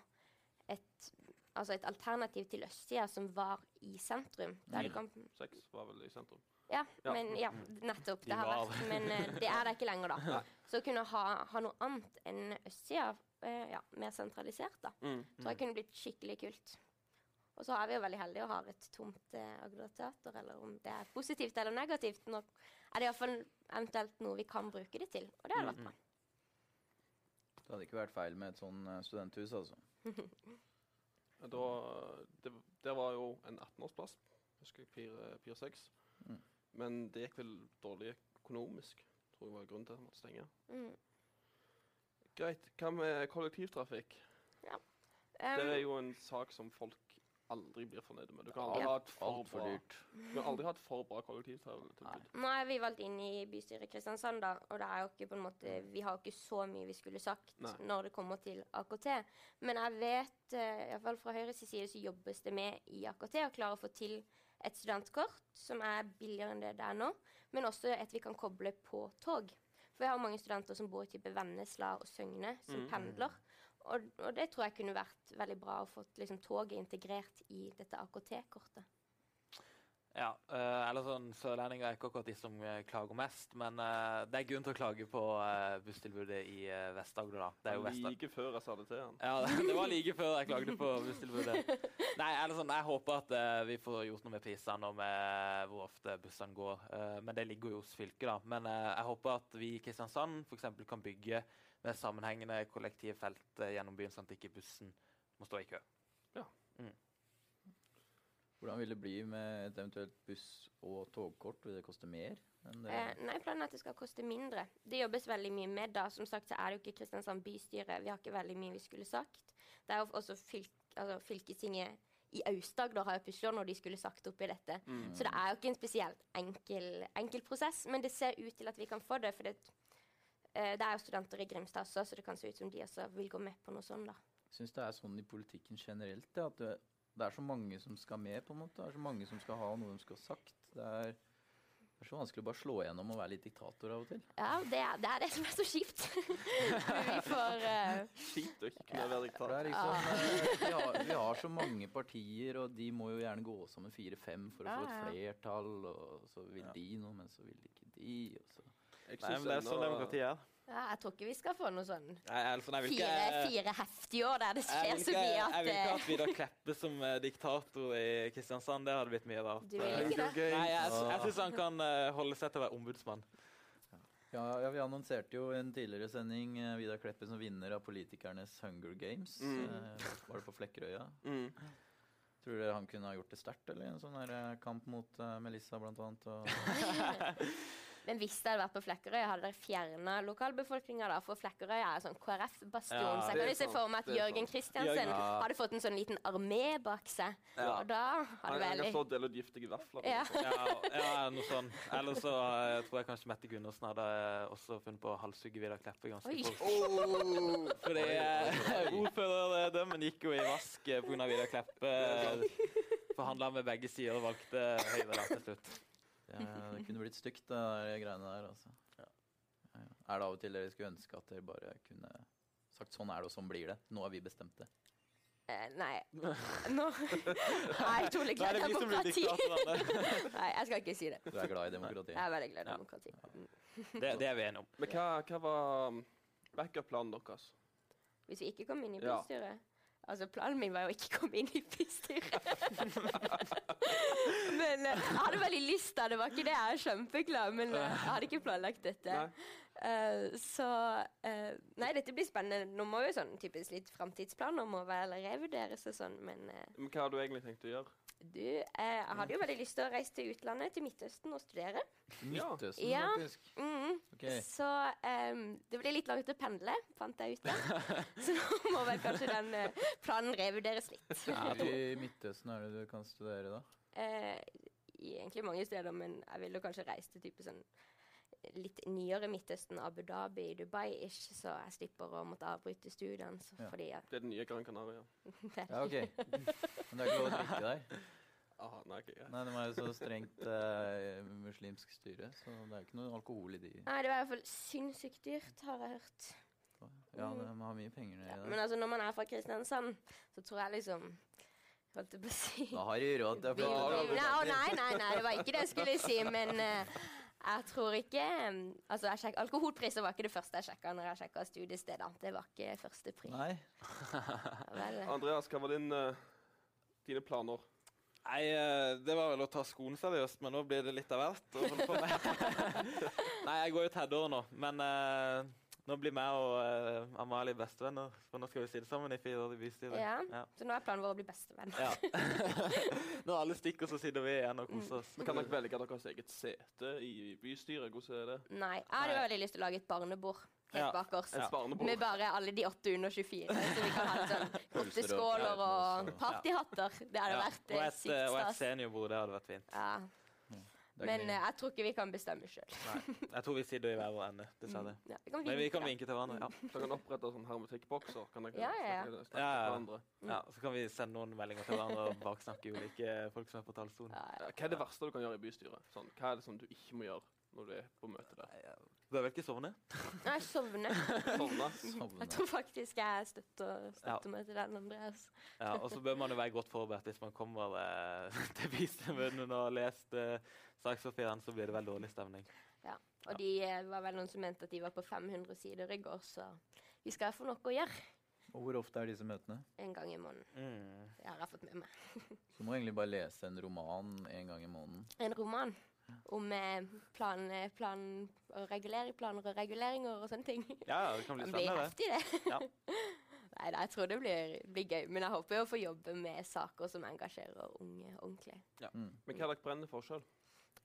et, altså et alternativ til østsida som var i sentrum. Der Mm. du kan Sex var vel i sentrum. Ja, Ja. men ja, nettopp. De Det har var. vært, men (laughs) eh, det er det ikke lenger, da. Så å kunne ha, ha noe annet enn østsida, eh, ja, mer sentralisert, da, Mm. tror jeg kunne blitt skikkelig kult. Og så er vi jo veldig heldige og har et tomt eh, Agder Teater, eller om det er positivt eller negativt. Nå er det iallfall eventuelt noe vi kan bruke det til, og Mm, det Mm. hadde vært bra. Det hadde ikke vært feil med et sånn eh, studenthus, altså. Ja, Da, det, det var jo en 18-årsplass, husker jeg, Pier- Pier 6. Mm. Men det gikk vel dårlig økonomisk, tror jeg var grunnen til at man måtte stenge. Mm. Greit. Hva med kollektivtrafikk? Det er Um, jo en sak som folk aldri blir fornøyd med. Du kan Ja. aldri ha et for, Altfor bra, dyrt. du kan aldri ha et for bra kollektivtilbud. nå er vi valgt inn i bystyret Kristiansand, da, og det er jo ikke på en måte, vi har jo ikke så mye vi skulle sagt Nei. når det kommer til AKT. Men jeg vet, eh, i hvert fall fra Høyres side, så jobbes det med i AKT å klare å få til et studentkort som er billigere enn det det er nå, men også et vi kan koble på tog. For jeg har mange studenter som bor i type Vennesla og Søgne, som Mm. pendler. Og, og det tror jeg kunne vært veldig bra å få liksom, toget integrert i dette AKT-kortet. Ja, eh, eller sånn Sørlendinger er ikke akkurat de som eh, klager mest, men eh, det er grunn til å klage på eh, busstilbudet i eh, Vest-Agder, da. Det er jo Vest-Agder. Like før jeg sa det til han. Ja, (laughs) det, det var like før jeg klagde på busstilbudet. (laughs) Nei, eller sånn, Jeg håper at eh, vi får gjort noe med prisene og med hvor ofte bussene går. Eh, men det ligger jo hos fylket, da. Men eh, jeg håper at vi i Kristiansand for eksempel, kan bygge med sammenhengende kollektivfelt eh, gjennom byen, sånn at ikke bussen må stå i kø. Hvordan vil det bli med et eventuelt buss- og togkort? Vil det koste mer? enn det? Eh, nei, planen er at det skal koste mindre. Det jobbes veldig mye med da. Som sagt så er det jo ikke Kristiansand bystyre. Vi har ikke veldig mye vi skulle sagt. Det er jo også fylk, altså, fylkestinget i Aust-Agder har jo pusha når de skulle sagt opp i dette. Så det er jo ikke en spesielt enkel, enkel prosess. Men det ser ut til at vi kan få det. For det, eh, det er jo studenter i Grimstad også, så det kan se ut som de også vil gå med på noe sånt. da. Jeg syns det er sånn i politikken generelt, ja, at det, det er så mange som skal med, på en måte. Det er så mange som skal ha noe de skal ha sagt. Det er, det er så vanskelig å bare slå igjennom og være litt diktator av og til. Ja, det er det, er det som er så kjipt. (laughs) vi får eh, Kjipt å ikke kunne være For det diktator. er liksom, eh, vi, har, vi har så mange partier, og de må jo gjerne gå sammen fire-fem for å få et flertall, og så vil de noe, men så vil ikke de. Og så. Jeg Nei, synes men Det er sånn ennå- demokratiet er. ja, Jeg tror ikke vi skal få noe sånn Nei, eller sånn, jeg vil fire, ikke- fire heftige år der det Jeg skjer vil så ikke, mye jeg at vil ikke eh, at Vidar Kleppe som eh, diktator i Kristiansand. Det hadde blitt mye rart. eh. Du vil ikke det? Nei, jeg, sy- jeg syns han kan eh, holde seg til å være ombudsmann. Ja, ja, vi annonserte jo i en tidligere sending eh, Vidar Kleppe som vinner av politikernes Hunger Games. Mm. Eh, var det på Flekkerøya? Mm. Tror dere han kunne ha gjort det sterkt, eller? En sånn der eh, kamp mot eh, Melissa, blant annet. Og... Men hvis det hadde vært på Flekkerøy, hadde dere fjerna lokalbefolkninga da? For Flekkerøy er en sånn KrF-bastion. Ja, så jeg det er kan jo se sant, for meg at det er Jørgen sant. Kristiansen Jørgen- Ja. hadde fått en sånn liten armé bak seg. Ja. Og da Han hadde han vel kan stå og dele ut giftige vafler. ja. Ja, ja noe sånn. Eller så eh, tror jeg kanskje Mette Gundersen hadde eh, også funnet på å halshugge Vidar Kleppe ganske Oi. fort. (laughs) Oh. Fordi eh, ordførerdømmen gikk jo i vask eh, på grunn av Vidar Kleppe. Forhandla med begge sider og valgte Høyre da til slutt. Det, det kunne blitt stygt, det der greiene der. Altså. Ja, ja. Er det av og til dere skulle ønske at dere bare kunne sagt sånn er det, og sånn blir det. Nå har vi bestemt det. Eh, Nei. Nå er (laughs) jeg utrolig Da er glad i det vi som blir demokrati. diktatorene. (laughs) Nei, jeg skal ikke si det. Du er glad i Jeg demokratiet. er veldig glad i Ja. demokrati. Mm. Det, det er vi enige om. Men hva, hva var um, backup-planen deres? Hvis vi ikke kom inn i Ja. bystyret Altså, planen min var jo ikke å komme inn i (laughs) bystyret. men eh, jeg hadde veldig lyst da, det var ikke det. Jeg er kjempeklar, men eh, jeg hadde ikke planlagt dette. Nei? Eh, så eh, Nei, dette blir spennende. Nå må jo sånn typisk litt framtidsplaner må vel revurderes og sånn, men eh, Men hva har du egentlig tenkt å gjøre? du eh, Jeg hadde jo veldig lyst til å reise til utlandet, til Midtøsten, og studere. Ja. Midtøsten, Ja. faktisk. Mhm. Ok. Så ehm, det blir litt langt å pendle, fant jeg (laughs) ut. da. Så nå må vel kanskje den eh, planen revurderes litt. Hvor i Midtøsten er det du kan studere, da? (laughs) Eh, i egentlig mange steder, men jeg ville kanskje reist til type sånn litt nyere Midtøsten, Abu Dhabi, Dubai-ish, så jeg slipper å måtte avbryte studiene. Så Ja. fordi at Det er den nye Gran Canaria. Ja, OK. Men det er ikke lov å drikke der? Ah, nei, ok, greit. Nei, de er jo så strengt eh, muslimsk styre, så det er ikke noe alkohol i de. Nei, det var i hvert fall sinnssykt dyrt, har jeg hørt. Ja, de har mye penger Ja, nedi men altså, når man er fra Kristiansand, så tror jeg liksom Holdt jeg på å si Da har de råd til å Vil- flytte vil- Nei, å, nei, nei, nei, det var ikke det jeg skulle si, men eh, jeg tror ikke mm, Altså, jeg sjekk, alkoholpriser var ikke det første jeg sjekka når jeg sjekka studiesteder. Det var ikke første pris. Nei. Vel, eh, Andreas, hva var din, eh, dine planer? Nei, eh, det var vel å ta skolen seriøst, men nå blir det litt av hvert å holde på med. (laughs) Nei, jeg går jo tredje år nå, men eh, nå blir jeg og eh, Amalie bestevenner. For nå skal vi sitte sammen i fire år i bystyret. Ja. Ja. så nå er planen vår å bli bestevenn. Ja. (laughs) Når alle stikker, så sitter vi igjen og koser oss. Mm. Kan dere velge deres eget sete i bystyret? Hvordan er det? Nei, jeg hadde jo veldig lyst til å lage et barnebord helt Ja. bak oss. Et barnebord? Med bare alle de åtte under 24. Så vi kan ha litt (laughs) sånn godteskåler og partyhatter. Det hadde Ja. vært Og eh, et, eh, sykt og et Mm. stas. seniorbord, det hadde vært fint. Ja. Det er Men ikke- eh, jeg tror ikke vi kan bestemme sjøl. Nei, jeg tror vi sitter i hver vår ende, dessverre. Mm. Ja, Mm. vi kan Men vi vinke, kan da. vinke til hverandre. Ja. Dere kan opprette sånn hermetikkbokser. Kan dere Ja, ja, ja. snakke- snakke Ja, ja, til ja. hverandre? ja, Så kan vi sende noen meldinger til hverandre og baksnakke ulike folk som er på talerstolen. Ja, ja. (laughs) Hva er det verste du kan gjøre i bystyret? Sånn, hva er det som du ikke må gjøre når du er på møte der? Bør vel ikke sovne? Nei, jeg sovner. Sovna. Jeg tror faktisk jeg støtter, støtter Ja. meg til den, altså. Andreas. Ja, og så bør man jo være godt forberedt hvis man kommer eh, (laughs) til bistemøtene og har lest eh, sakspapiren, så blir det vel dårlig stemning. Og de eh, var vel noen som mente at de var på 500 sider i går, så vi skal få noe å gjøre Og hvor ofte er disse møtene? en gang i måneden. Mm. Det har jeg fått med meg. Du må egentlig bare lese en roman en gang i måneden. En roman om eh, plan, eh, plan og regulering, planer og reguleringer og sånne ting. Ja, det kan bli Det blir spennende. heftig, det. Ja. (laughs) Nei, da, jeg tror det blir, blir gøy. Men jeg håper jo å få jobbe med saker som engasjerer unge ordentlig. Men hva er dere brenner for sjøl?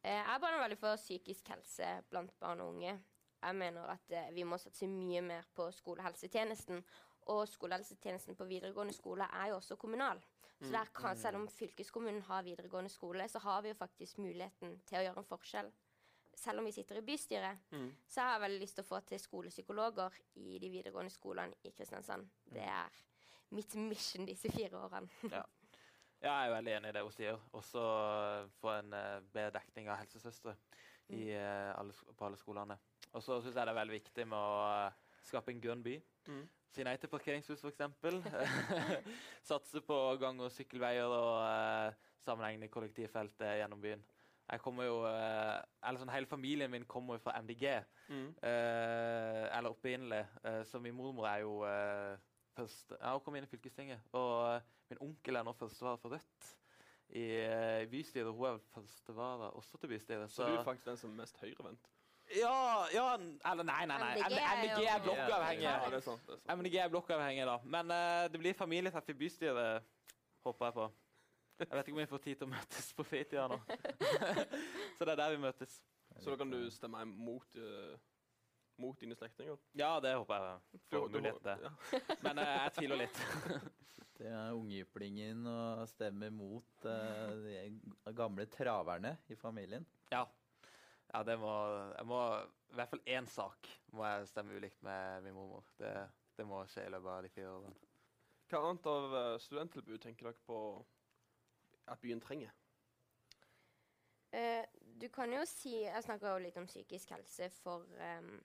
Eh, Jeg brenner veldig for psykisk helse blant barn og unge. Jeg mener at eh, vi må satse mye mer på skolehelsetjenesten. Og skolehelsetjenesten på videregående skole er jo også kommunal. Så der kan, selv om fylkeskommunen har videregående skole, så har vi jo faktisk muligheten til å gjøre en forskjell. Selv om vi sitter i bystyret, Mm. så har jeg veldig lyst til å få til skolepsykologer i de videregående skolene i Kristiansand. Det er mitt mission disse fire årene. Ja, jeg er veldig enig i det hun sier. Også få en eh, bedre dekning av helsesøstre i, eh, alle, sk- på alle skolene. Og så syns jeg det er veldig viktig med å eh, skape en grønn by. Mm. Si nei til parkeringshus, f.eks. (laughs) Satse på gang- og sykkelveier og eh, sammenhengende kollektivfelt eh, gjennom byen. Jeg kommer jo, eh, eller sånn, Hele familien min kommer jo fra MDG, Mm. eh, eller opprinnelig. Eh, så min mormor er jo eh, først, ja, Hun kom inn i fylkestinget. Og eh, min onkel er nå førstevara for Rødt i eh, bystyret. Hun er førstevara også til bystyret. Så du er faktisk den som er mest høyrevendt. Ja, ja n- Eller nei, nei, nei. MDG E er MDG jo- er blokkavhengig. Ja, det er sant. Det er sant. MDG E er blokkavhengig, da. Men eh, det blir familietreff i bystyret, håper jeg på. Jeg vet ikke om vi får tid til å møtes på fritida nå. (laughs) Så det er der vi møtes. Så da kan du stemme mot, eh, mot dine slektninger? Ja, det håper jeg. Får Du- du- mulighet til. ja. Men eh, jeg tviler litt. Det er ungjyplingen eh, og stemmer mot eh, de gamle traverne i familien. Ja. ja det må, jeg må I hvert fall én sak må jeg stemme ulikt med min mormor. Det, det må skje i løpet av de fire årene. Hva annet av eh, studenttilbud tenker dere på at byen trenger? Eh, du kan jo si Jeg snakker jo litt om psykisk helse for, em,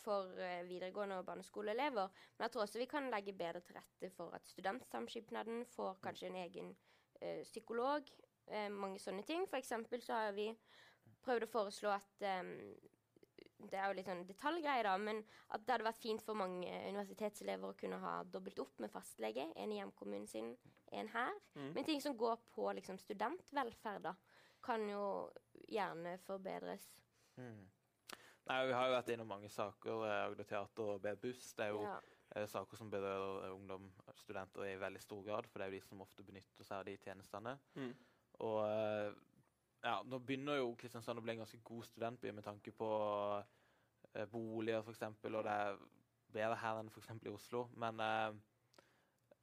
for eh, videregående og barneskoleelever. Men jeg tror også vi kan legge bedre til rette for at studentsamskipnaden får kanskje en egen eh, psykolog. eh, mange sånne ting. For eksempel så har vi prøvd å foreslå at em, det er jo litt sånn detaljgreier, da, men at det hadde vært fint for mange universitetselever å kunne ha dobbelt opp med fastlege. En i hjemkommunen sin, en her. Mm. Men ting som går på liksom, studentvelferd, da kan jo gjerne forbedres. Hmm. Nei, Vi har jo vært innom mange saker. eh, Agder Teater og B-buss. Det er jo Ja. eh, saker som berører eh, ungdom og studenter i veldig stor grad. For det er jo de som ofte benytter seg av de tjenestene. Mm. Og eh, ja, nå begynner jo Kristiansand å bli en ganske god studentby med tanke på eh, boliger, f.eks. Og det er bedre her enn f.eks. i Oslo. Men eh,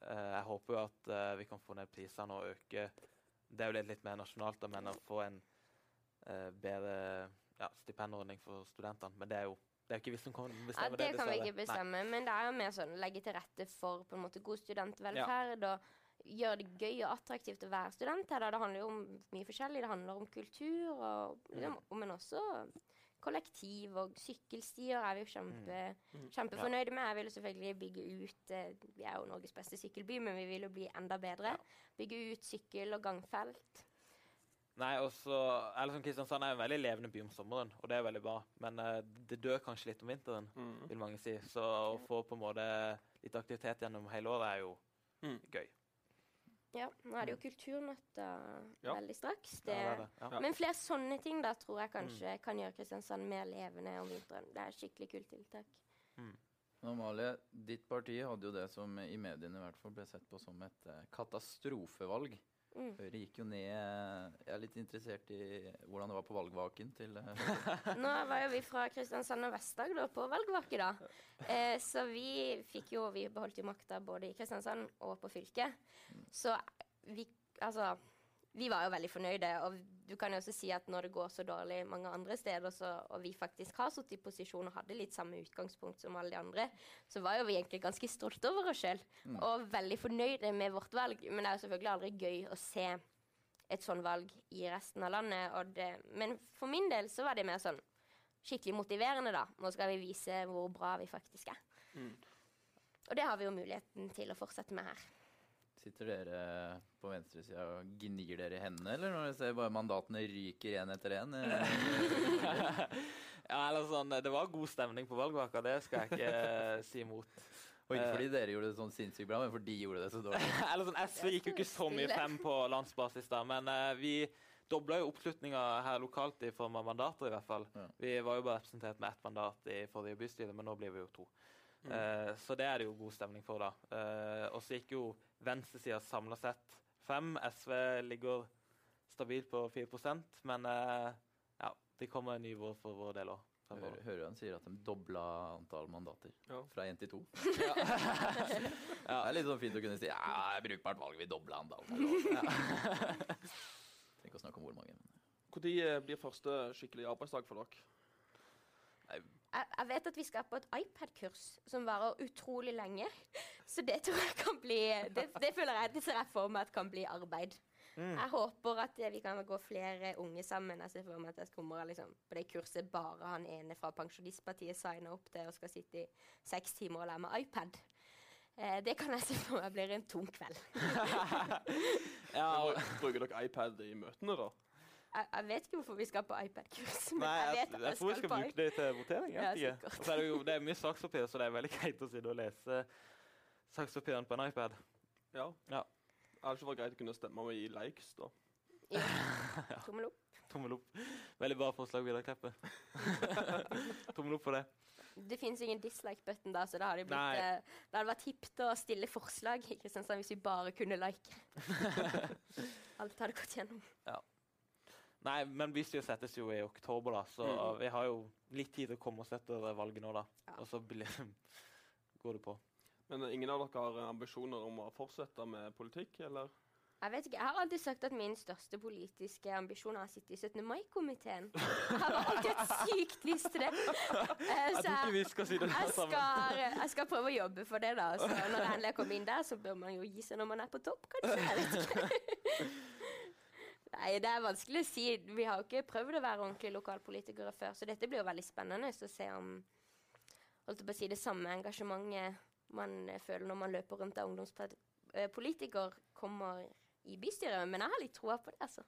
eh, jeg håper jo at eh, vi kan få ned prisene og øke Det er jo litt, litt mer nasjonalt, da, men å få en eh, bedre ja, stipendordning for studentene. Men det er jo det er jo ikke vi som kommer til å Ja, bestemme det kan vi dessverre. ikke Nei. bestemme, men det er jo mer sånn legge til rette for på en måte god studentvelferd. og Gjøre det gøy og attraktivt å være student. her. da. Det handler jo om mye forskjellig. Det handler om kultur, og, liksom, Mm. men også kollektiv og sykkelstier er vi jo kjempe, Mm. kjempefornøyde med. Jeg vil jo selvfølgelig bygge ut eh, Vi er jo Norges beste sykkelby, men vi vil jo bli enda bedre. Bygge ut sykkel- og gangfelt. Nei, og så, eller som Kristiansand er en veldig levende by om sommeren, og det er veldig bra. Men eh, det dør kanskje litt om vinteren, Mm. vil mange si. Så å få på en måte litt aktivitet gjennom hele året er jo Mm. gøy. Ja, nå er det jo kulturnatta Ja. veldig straks. Det, Ja, det er det. Ja. Mm. Ja. Men flere sånne ting da tror jeg kanskje kan gjøre Kristiansand mer levende om vinteren. Det er et skikkelig kult tiltak. Men Amalie, ditt parti hadde jo det som i mediene i hvert fall ble sett på som et eh, katastrofevalg. Mm. Høyre gikk jo ned eh, Jeg er litt interessert i hvordan det var på valgvaken til eh, (laughs) Nå var jo vi fra Kristiansand og Vest-Agder på valgvake, da. Eh, så vi fikk jo Vi beholdt jo makta både i Kristiansand og på fylket. Så vi Altså, vi var jo veldig fornøyde. Og du kan jo også si at når det går så dårlig mange andre steder, så, og vi faktisk har sittet i posisjon og hadde litt samme utgangspunkt som alle de andre, så var jo vi egentlig ganske stolte over oss sjøl. Og veldig fornøyde med vårt valg. Men det er jo selvfølgelig aldri gøy å se et sånn valg i resten av landet. Og det, men for min del så var det mer sånn skikkelig motiverende, da. Nå skal vi vise hvor bra vi faktisk er. Mm. Og det har vi jo muligheten til å fortsette med her. Sitter dere på venstresida og gnir dere i hendene, eller når dere ser bare mandatene ryker én etter Eh, én? (laughs) ja, (laughs) eller sånn, det var god stemning på valgvaka, det skal jeg ikke eh, si imot. Og ikke fordi dere gjorde det sånn sinnssykt bra, men fordi de gjorde det så dårlig. (laughs) Eller sånn, SV gikk jo ikke så mye frem på landsbasis, da, men eh, vi dobla jo oppslutninga her lokalt i form av mandater, i hvert fall. Ja. Vi var jo bare representert med ett mandat i forrige bystyre, men nå blir vi jo to. Eh, så det er det jo god stemning for, da. Eh, og så gikk jo venstresida samla sett frem. SV ligger stabilt på 4 men eh, ja, det kommer en ny vår for vår del òg. Hører, hører han sier at de dobla antall mandater Ja. fra én til to. Det er litt sånn fint å kunne si ja, det er brukbart valg, vi dobla antallet. mandater». Trenger ikke å snakke om hvor mange. men- Når eh, blir første skikkelig arbeidsdag for dere? Jeg, jeg vet at vi skal på et iPad-kurs som varer utrolig lenge. (laughs) Så det tror jeg kan bli Det, det føler jeg det ser jeg for meg at kan bli arbeid. Jeg håper at eh, vi kan gå flere unge sammen. Jeg ser for meg at jeg kommer liksom, på det kurset bare han ene fra Pensjonistpartiet signer opp til og skal sitte i seks timer og lære meg iPad. Eh, det kan jeg se for meg blir en tung kveld. Ja, og- Bru- Bruker dere iPad i møtene, da? Jeg, jeg vet ikke hvorfor vi skal på iPad-kurs, men Nei, jeg jeg, vet jeg, at jeg tror vi skal skal på bruke det til votering. Ja, Jeg vet ikke. sikkert. Og så er det, jo, det er mye sakspapir, så det er veldig greit å sitte og lese sakspapiren på en iPad. Ja. Ja. Er det ikke bare greit å kunne stemme med i likes, da? iPad. Tommel opp. Tommel opp. Veldig bra forslag, Vidar Kleppe. (laughs) Tommel opp for det. Det fins ingen dislike-button da, så da hadde det Nei. blitt, eh, det hadde vært hipt å stille forslag i Kristiansand hvis vi bare kunne (laughs) like. Alt hadde gått gjennom. Nei, men bystyret settes jo i oktober, da, så Mhm. vi har jo litt tid til å komme oss etter valget nå, da. Mm. Ja. Og så blir- går det på. Men eh, ingen av dere har eh, ambisjoner om å fortsette med politikk, eller? Jeg vet ikke, jeg har alltid sagt at min største politiske ambisjon er å sitte i 17. mai-komiteen. Jeg har alltid et sykt lyst til det. Eh, Jeg så tror ikke jeg, vi skal si det jeg, der sammen. skal, eh, jeg skal prøve å jobbe for det, da. Så når jeg endelig kommer inn der, så bør man jo gi seg når man er på topp, kanskje. Jeg vet ikke. Nei, det er vanskelig å si. Vi har jo ikke prøvd å være ordentlige lokalpolitikere før, så dette blir jo veldig spennende å se om holdt jeg på å si, det samme engasjementet man eh, føler når man løper rundt av ungdomspolitiker, kommer i bystyret. Men jeg har litt troa på det, altså.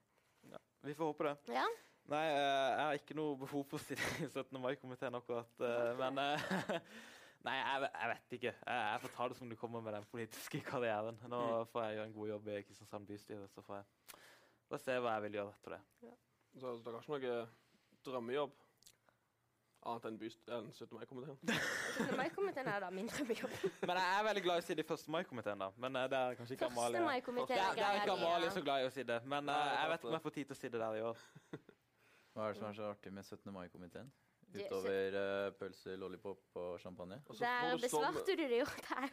Vi får håpe det. Ja. Nei, eh, jeg har ikke noe behov for å stille i 17. mai-komiteen akkurat. eh, men eh, (laughs) Nei, jeg, ve- jeg vet ikke. Jeg, jeg får ta det som det kommer med den politiske karrieren. Nå får jeg gjøre en god jobb i Kristiansand bystyre, så får jeg får se hva jeg vil gjøre etter det. Så altså, dere har ikke noe drømmejobb? Annet enn byst enn 17. (laughs) mai-komiteen? 17. mai-komiteen er da min drømmejobb. Men jeg er veldig glad i å si det i 1. mai-komiteen, da. Men eh, det er kanskje ikke 1. Amalie. Det mai-komiteen er, det er ikke greier Amalie de, så glad i å si det, men Nei, eh, jeg jeg vet vet om jeg får tid til å si det der i år. Hva er det som er så artig med 17. mai-komiteen? Det- Utover eh, pølse, lollipop og champagne? Og så Der får du stå med- besvarte du det jo.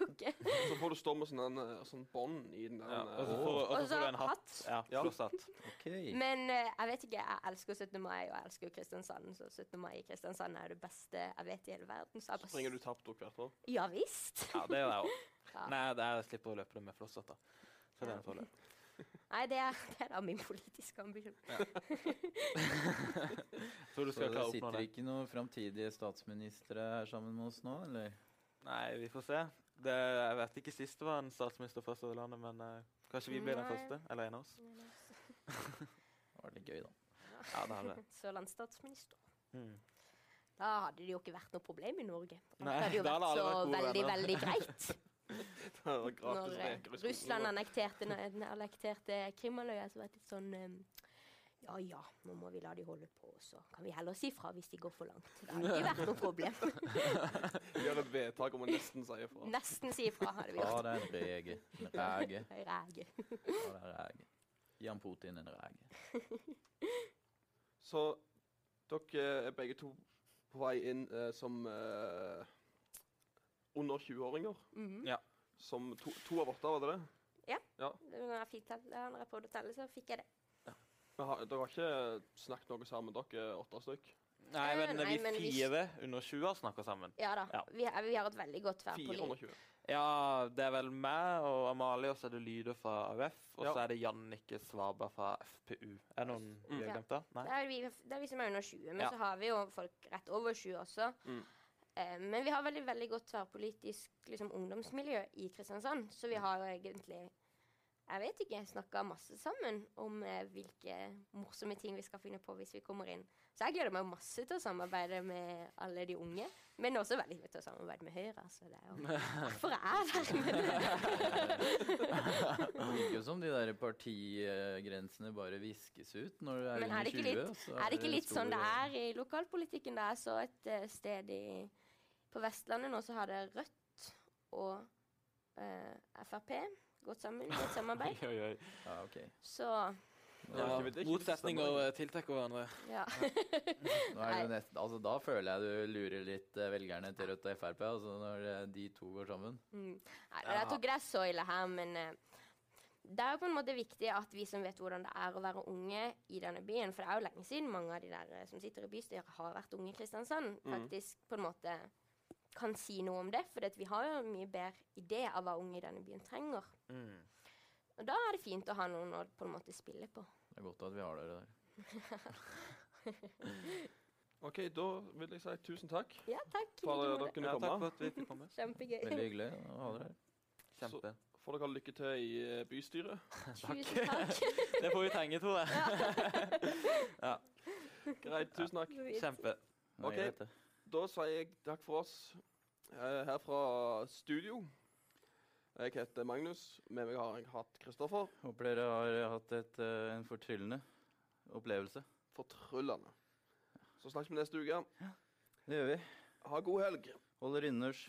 (laughs) Det er jo ikke Så får du stå med sånn, en, eh, sånn bånd i den der Ja, eh, altså, og så får, og så Og så får du en hatt. hatt. Ja, Ja. flosshatt. Ok. Men eh, jeg vet ikke, jeg elsker 17. mai, og jeg elsker jo Kristiansand, så 17. mai i Kristiansand er det beste jeg vet i hele verden. Så jeg Så bare springer du tapt opp hvert år. (laughs) Ja visst! Ja, det gjør jeg òg. Ja. Nei, det er- jeg slipper å løpe det med flosshatt, da. Så det er en fordel. Nei, det er, det er da min politiske ambisjon. Tror du Så skal det klare å oppnå sitter det? ikke noen framtidige statsministre her sammen med oss nå, eller? Nei, vi får se. Det, jeg vet ikke sist det var en statsminister fra Sørlandet, men eh, kanskje vi blir den Nei. første? Eller en av oss? Det var litt gøy, da. Ja, det hadde det. (laughs) Sørlandsstatsminister. Mm. Da hadde det jo ikke vært noe problem i Norge. Alt Nei, hadde jo da vært hadde så alle vært gode veldig, venner. veldig greit. Det er gratis Når reker eh, i skogen, Russland da. annekterte, n- annekterte Krimhalvøya, så var det litt sånn eh, Ja ja, nå må vi la de holde på, så kan vi heller si fra hvis de går for langt. Det hadde (laughs) ikke vært noe problem. (laughs) Gjør et vedtak om å nesten si ifra. Nesten si ifra hadde vi Ta gjort. deg en rege. En (laughs) rege. Ræge. Ta deg en rege. Gi han Putin en rege. Så dere er begge to på vei inn eh, som eh, under 20-åringer. Mhm. Som to, to av åtte, var det det? Når jeg fikk tell- når jeg prøvde å telle, så fikk jeg det. Men har, dere har ikke snakket noe sammen, dere er åtte stykk? Nei, Eh, men nei, vi men vi- fire under 20 år snakker sammen. Ja da. Ja. Vi, er- vi har et veldig godt Fire værpoli. under 20. Ja, det er vel meg og Amalie, og så er det lyder fra AUF. Og Ja. så er det Jannicke Svaberg fra FPU. Er det noen vi har Ja. glemt, da? Nei? Da er vi, da er vi som er under 20, men Ja. så har vi jo folk rett over 20 også. Mm. Eh, men vi har veldig veldig godt tverrpolitisk liksom, ungdomsmiljø i Kristiansand, så Mm. vi har jo egentlig jeg vet ikke, snakka masse sammen om eh, hvilke morsomme ting vi skal finne på hvis vi kommer inn. Så jeg gleder meg masse til å samarbeide med alle de unge. Men også veldig mye til å samarbeide med Høyre. Så det er jo (laughs) derfor jeg er der med Det virker jo som de der partigrensene bare viskes ut når du er Men er under det ikke 20. litt- så Er det ikke litt sånn det stor- er i lokalpolitikken? Det er så et eh, sted i, på Vestlandet nå så har det Rødt og eh, Frp gått (laughs) sammen i et samarbeid. Oi, oi. Ja, ok. Så Nå, Ja, det er ikke Motsetninger eh, tiltrekker hverandre. ja. nå er det jo nest, altså, da føler jeg du lurer litt eh, velgerne til Rødt og Frp, altså når eh, de to går sammen. (laughs) Mm. Nei, jeg tror ikke det er så ille her, men eh, det er jo på en måte viktig at vi som vet hvordan det er å være unge i denne byen For det er jo lenge siden mange av de der eh, som sitter i bystyret, har vært unge i Kristiansand. Mm. Faktisk på en måte kan si noe om det. For vi har jo en mye bedre idé av hva unge i denne byen trenger. Mm. Og da er det fint å ha noen å på en måte spille på. Det er godt at vi har dere der. OK, da vil jeg si tusen takk Ja, takk. i for at dere like måte. kunne Ja, takk for komme. at vi fikk komme. Kjempegøy. Veldig hyggelig å ha dere her. Kjempe. Får dere ha lykke til i eh, bystyret. (laughs) Tusen takk. Det får vi trenge, tror jeg. Greit, tusen takk. Kjempe. Ok. Nå er det dette. Da sier jeg takk for oss eh, her fra studio. Jeg heter Magnus. Med meg har jeg hatt Kristoffer. Håper dere har eh, hatt et, eh, en fortryllende opplevelse. Fortryllende. Så snakkes vi neste uke. Det gjør vi. Ha god helg. Holder innendørs.